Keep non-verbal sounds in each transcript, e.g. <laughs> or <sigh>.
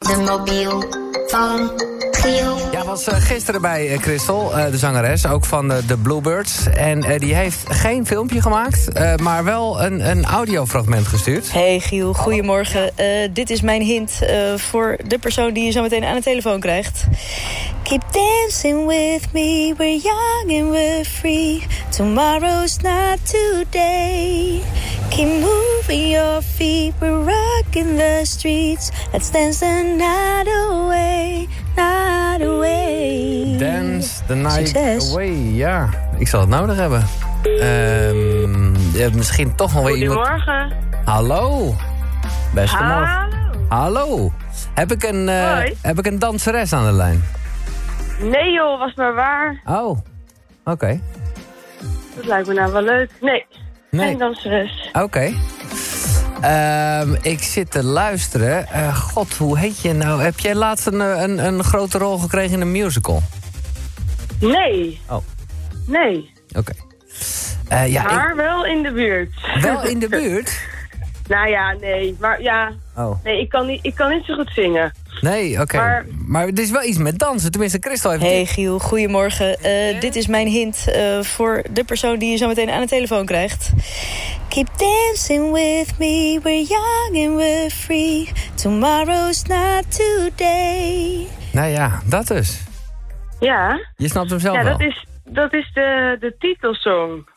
de mobiel van Giel. Ja, was eh, gisteren bij eh, Christel, eh, de zangeres, ook van eh, de Bluebirds. En eh, die heeft geen filmpje gemaakt, eh, maar wel een, een audiofragment gestuurd. Hey Giel, goedemorgen. Eh, dit is mijn hint eh, voor de persoon die je zo meteen aan de telefoon krijgt. Keep dancing with me, we're young and we're free. Tomorrow's not today. Keep moving your feet, we're rocking the streets. Let's dance the night away, night away. Dance the night Succes. away. Ja, ik zal het nodig hebben. Ehm, ja, misschien toch wel weer iemand... Goedemorgen. Hallo. Beste morgen. Hallo. Hallo. Heb ik, een, eh, Hoi. heb ik een danseres aan de lijn? Nee joh, was maar waar. Oh, oké. Dat lijkt me nou wel leuk. Nee, Nee. geen danseres. Oké. Ehm, ik zit te luisteren. Eh, God, hoe heet je nou? Heb jij laatst een, eh, een, een grote rol gekregen in een musical? Nee, Oh, oké. nee. Eh, ja, Maar wel in de buurt. ik- wel in de buurt. <laughs> Nou ja, nee. Maar ja, Oh. nee, ik kan niet, ik kan niet zo goed zingen. Nee, oké. Maar- Maar het is wel iets met dansen. Tenminste, Christel heeft... Hey Giel, goedemorgen. Eh, Dit is mijn hint eh, voor de persoon die je zo meteen aan de telefoon krijgt. Keep dancing with me, we're young and we're free. Tomorrow's not today. Nou ja, dat dus. Ja, Je snapt hem zelf ja Oh, wel. dat is, dat is de, de titelsong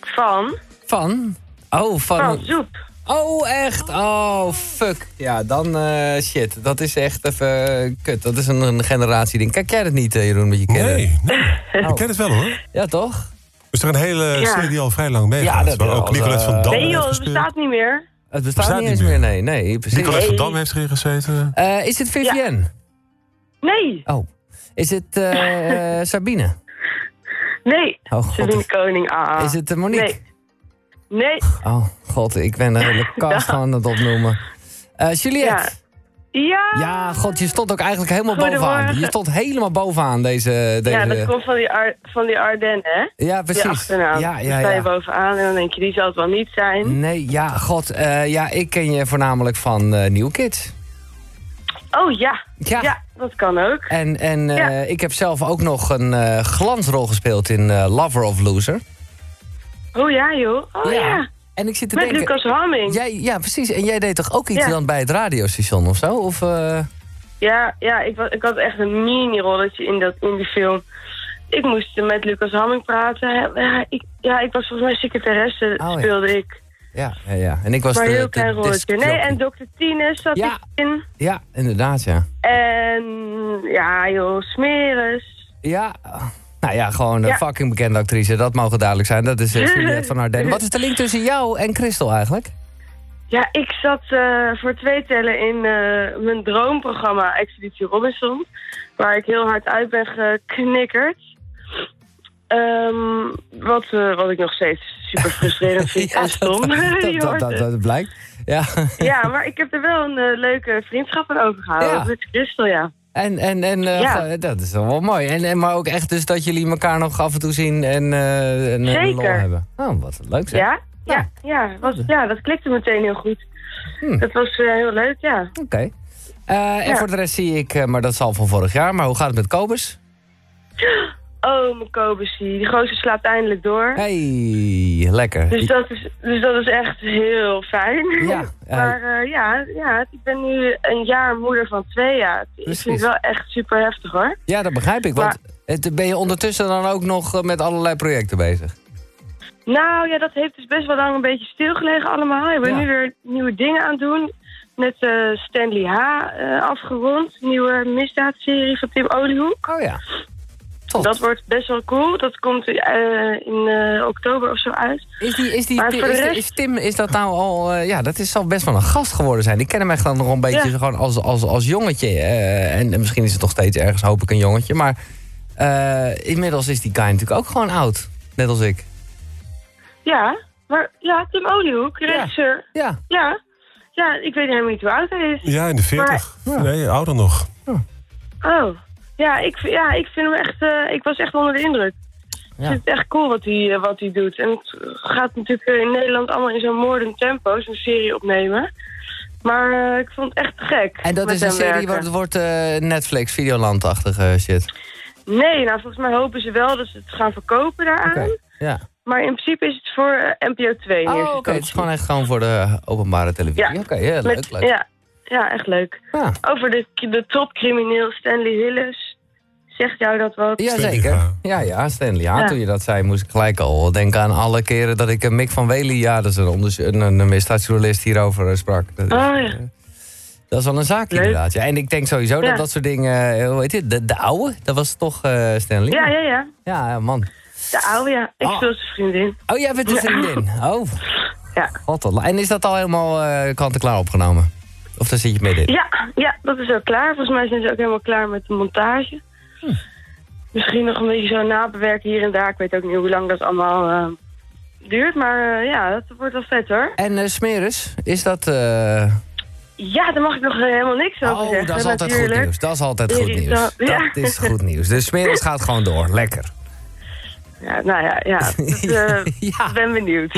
van, Van? Oh, van... van Zoep. Oh, echt? Oh, fuck. Ja, dan eh, shit. Dat is echt even eh, kut. Dat is een, een generatie ding. Kijk jij dat niet, eh, Jeroen, met je kinderen? Nee, nee. ik ken het wel hoor. Ja, toch? Is er een hele Oh. Ja. serie die al vrij lang meegaat? Ja, dat waar wel, ook Nicolette van eh, Dam Nee heeft joh, dat gespeeld. bestaat niet meer. Oh, Het bestaat, Bestaat niet niet eens meer, nee. Nee, precies. Nicolette van Nee. Dam heeft erin gezeten. Eh, is het Vivienne? Nee, Oh. Is het <laughs> eh, eh, Sabine? nee. Oh, god. Sabine Koning, ah. Is het eh, Monique? Nee. Nee, Oh, god. Ik ben de <laughs> hele cast gewoon aan het opnoemen. Eh, ja. Juliette? Ja, Ja. god, je stond ook eigenlijk helemaal bovenaan. Goedemorgen. Je stond helemaal bovenaan deze... deze... ja dat komt van die, Ar van die Ardennen, hè? Ja, Die precies. achternaam. Ja, Dan ja, sta je ja. Mm. bovenaan en dan denk je, die zal het wel niet zijn. Nee, ja, god. eh, ja, ik ken je voornamelijk van eh New Kids. Oh ja. Ja. ja, dat kan ook. En, en eh, Ja. ik heb zelf ook nog een eh, glansrol gespeeld in eh, Lover of Loser. Oh ja, joh. Oh ja. En ik zit Eh. te Met denken... Lucas Hamming. Ja. Jij, ja, precies. En jij deed toch ook iets Ja. dan bij het radiostation of zo? Of, eh, Ja, ik, wa- ik had echt een mini-rolletje in, dat- in die film. Ik moest met Lucas Hamming praten. Ja ik, ja, ik was volgens mij secretaresse, Oh, ja. speelde ik. ja, ja, ja. En ik was Maar de, heel de klein rolletje. discjockey. Nee, en Dr. Tines zat Ja. ik in. Ja, inderdaad, ja. En ja, joh, Smeres. Ja, nou ja, gewoon een Ja. fucking bekende actrice. Dat mogen duidelijk zijn. Dat <laughs> is eh, Juliette van Arden. Wat is de link tussen jou en Christel eigenlijk? Ja, ik zat eh, voor twee tellen in eh, mijn droomprogramma Expeditie Robinson. Waar ik heel hard uit ben geknikkerd. Ehm, wat, eh, wat ik nog steeds super <laughs> frustrerend vind en stom. <laughs> Je dat, hoort dat, het. dat blijkt. Ja, <laughs> Ja, maar ik heb er wel een eh, leuke vriendschap aan overgehouden. Ja. Met Christel, ja. en, en, en eh, Ja. gewoon- dat is wel wel mooi. En, en, maar ook echt dus dat jullie elkaar nog af en toe zien en, eh en eh, lol Zeker. hebben. Oh, wat leuk zeg. Ja? Ja, ja, was, ja, dat klikte meteen heel goed. Hmm. Dat was eh, heel leuk, ja. Oké. Eh, En Ja. voor de rest zie ik, eh, maar dat is al van vorig jaar. Maar hoe gaat het met Kobus? Oh, mijn Kobusie. Die gozer slaapt eindelijk door. Hey, lekker. Dus dat, is, dus dat is echt heel fijn. <laughs> Ja, eh. maar eh, ja, ja, ik ben nu een jaar moeder van twee jaar. Ik Precies. vind het wel echt super heftig hoor. Ja, dat begrijp ik. Want het, ben je ondertussen dan ook nog eh, met allerlei projecten bezig? Nou ja, dat heeft dus best wel lang een beetje stilgelegen allemaal. Ik ben Ja. nu weer nieuwe dingen aan het doen. Met eh, Stanley H. eh, afgerond. Nieuwe misdaadserie van Tim Oliehoek. Oh ja. Top. Dat wordt best wel cool. Dat komt eh, in eh, oktober of zo uit. Is, die, is, die, Maar is, voor de die- rest- is Tim, is dat nou al... eh, ja, dat is, zal best wel een gast geworden zijn. Ik ken hem echt dan nog een beetje Ja. gewoon als, als, als jongetje. eh, en, en misschien is het nog steeds ergens, hoop ik, een jongetje. Maar eh, inmiddels is die guy natuurlijk ook gewoon oud. Net als ik. Ja, maar ja, Tim Oliehoek, regisseur. Ja, Ja. Ja, ik weet helemaal niet hoe oud hij is. Ja, in de 40. Maar- Nee, ouder nog. Oh. Ja ik, v- ja, ik vind hem echt... eh, ik was echt onder de indruk. Ja. Ik vind het echt cool wat hij, eh, wat hij doet. En het gaat natuurlijk eh, in Nederland allemaal in zo'n moordend tempo... zo'n serie opnemen. Maar eh, ik vond het echt te gek. En dat met is een hem serie werken. waar het wordt eh, Netflix, Videoland-achtige eh, shit. Nee, nou volgens mij hopen ze wel dat ze het gaan verkopen daaraan. Ja. Maar in principe is het voor eh, NPO 2 Oh, oké. neergekomen. Het is gewoon echt gewoon voor de openbare televisie. Ja. Oké, ja, leuk, Met- leuk. Ja, ja, echt leuk. Ja. Over de, de topcrimineel Stanley Hillis. Zegt jou dat wat? Jazeker. Stanley, Ja, ja, Stanley. Ja, Ja. toen je dat zei, moest ik gelijk al denken aan alle keren dat ik eh, Mick van Wely, ja, dat is een, onderzo- een, een misdaadjournalist, hierover eh, sprak. Dat is, Oh ja. dat is wel een zaak, Leuk. inderdaad. Ja, en ik denk sowieso Ja. dat dat soort dingen, eh, hoe heet dit, de, de oude, dat was toch eh, Stanley? ja, ja, ja. Ja, ja, man. De oude, ja. Ik Ah. speel zijn vriendin. Oh, jij <laughs> bent een vriendin. Oh, Ja. god. wat la- En is dat al helemaal eh kant-en-klaar opgenomen? Of daar zit je midden in? Ja, ja, dat is al klaar. Volgens mij zijn ze ook helemaal klaar met de montage. Hm. Misschien nog een beetje zo nabewerken hier en daar. Ik weet ook niet hoe lang dat allemaal eh, duurt. Maar eh, ja, dat wordt wel vet hoor. En eh Smeres, is dat... eh, Ja, daar mag ik nog eh, helemaal niks over Oh, zeggen. dat is altijd natuurlijk. goed nieuws. Dat is altijd Ja, goed die- nieuws. Dat dat- ja. is goed nieuws. Dus Smeres gaat gewoon door. Lekker. Ja, nou ja, <laughs> ja. Dat, eh, Ja. ik ben benieuwd.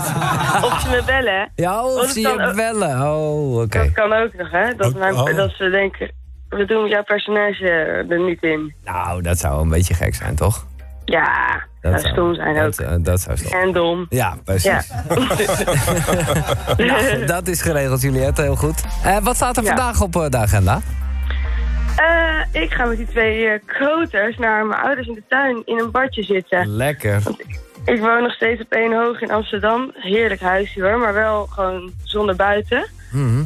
<laughs> of ze me bellen, hè. Ja, Oh, of dat zie kan je ook. bellen. Oh, oké. Dat kan ook nog, hè. Dat, Ook- mijn- oh. dat ze denken, we doen jouw personage er niet in. Nou, dat zou een beetje gek zijn, toch? Ja, dat, zou- stom zijn dat, ook. eh, dat zou stom En dom. Ja, <laughs> Ja. precies. Nou, dat is geregeld, Juliette. Heel goed. Eh, wat staat er Ja. vandaag op eh, de agenda? <laughs> Eh, ik ga met die twee eh, koters naar mijn ouders in de tuin in een badje zitten. Lekker. Ik woon nog steeds op één hoog in Amsterdam. Heerlijk huisje hoor, maar wel gewoon zonder buiten.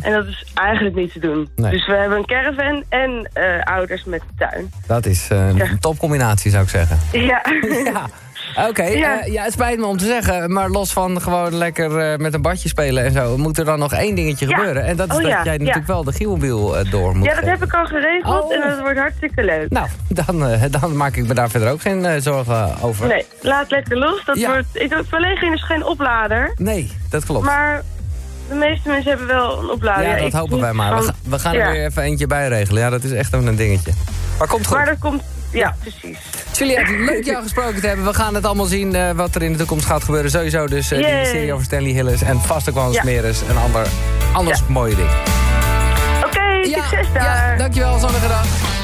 En dat is eigenlijk niet te doen. Mhm. Nee. Dus we hebben een caravan en eh, ouders met de tuin. <laughs> Dat is eh, een topcombinatie, zou ik zeggen. Ja, <laughs> Ja. Oké, Ja. eh, ja, het spijt me om te zeggen, maar los van gewoon lekker eh, met een badje spelen en zo, moet er dan nog één dingetje Ja. gebeuren. En dat is Oh dat ja, jij ja. natuurlijk wel de gielmobiel eh, door moet ja dat heb geven. ik al geregeld Oh. en dat wordt hartstikke leuk. Nou, dan, eh, <laughs> dan maak ik me daar verder ook geen eh, zorgen over. Nee, laat lekker los. Dat Ja. wordt, ik, verleging is geen oplader, Nee, dat klopt. maar de meeste mensen hebben wel een oplader. ja, dat ik hopen niet. wij maar. We, ga- Van- we gaan ja. er weer even eentje bij regelen. Ja, dat is echt een dingetje. Maar komt goed. Maar dat komt, ja, precies. Juliette, leuk jou gesproken te hebben. We gaan het allemaal zien eh, wat er in de toekomst gaat gebeuren. Sowieso dus eh, die Yay. serie over Stanley Hillis en vast ook wel een Ja. smeres en ander, anders mooie ding. Oké, succes daar. <laughs> Ja, dankjewel, zonnige dag.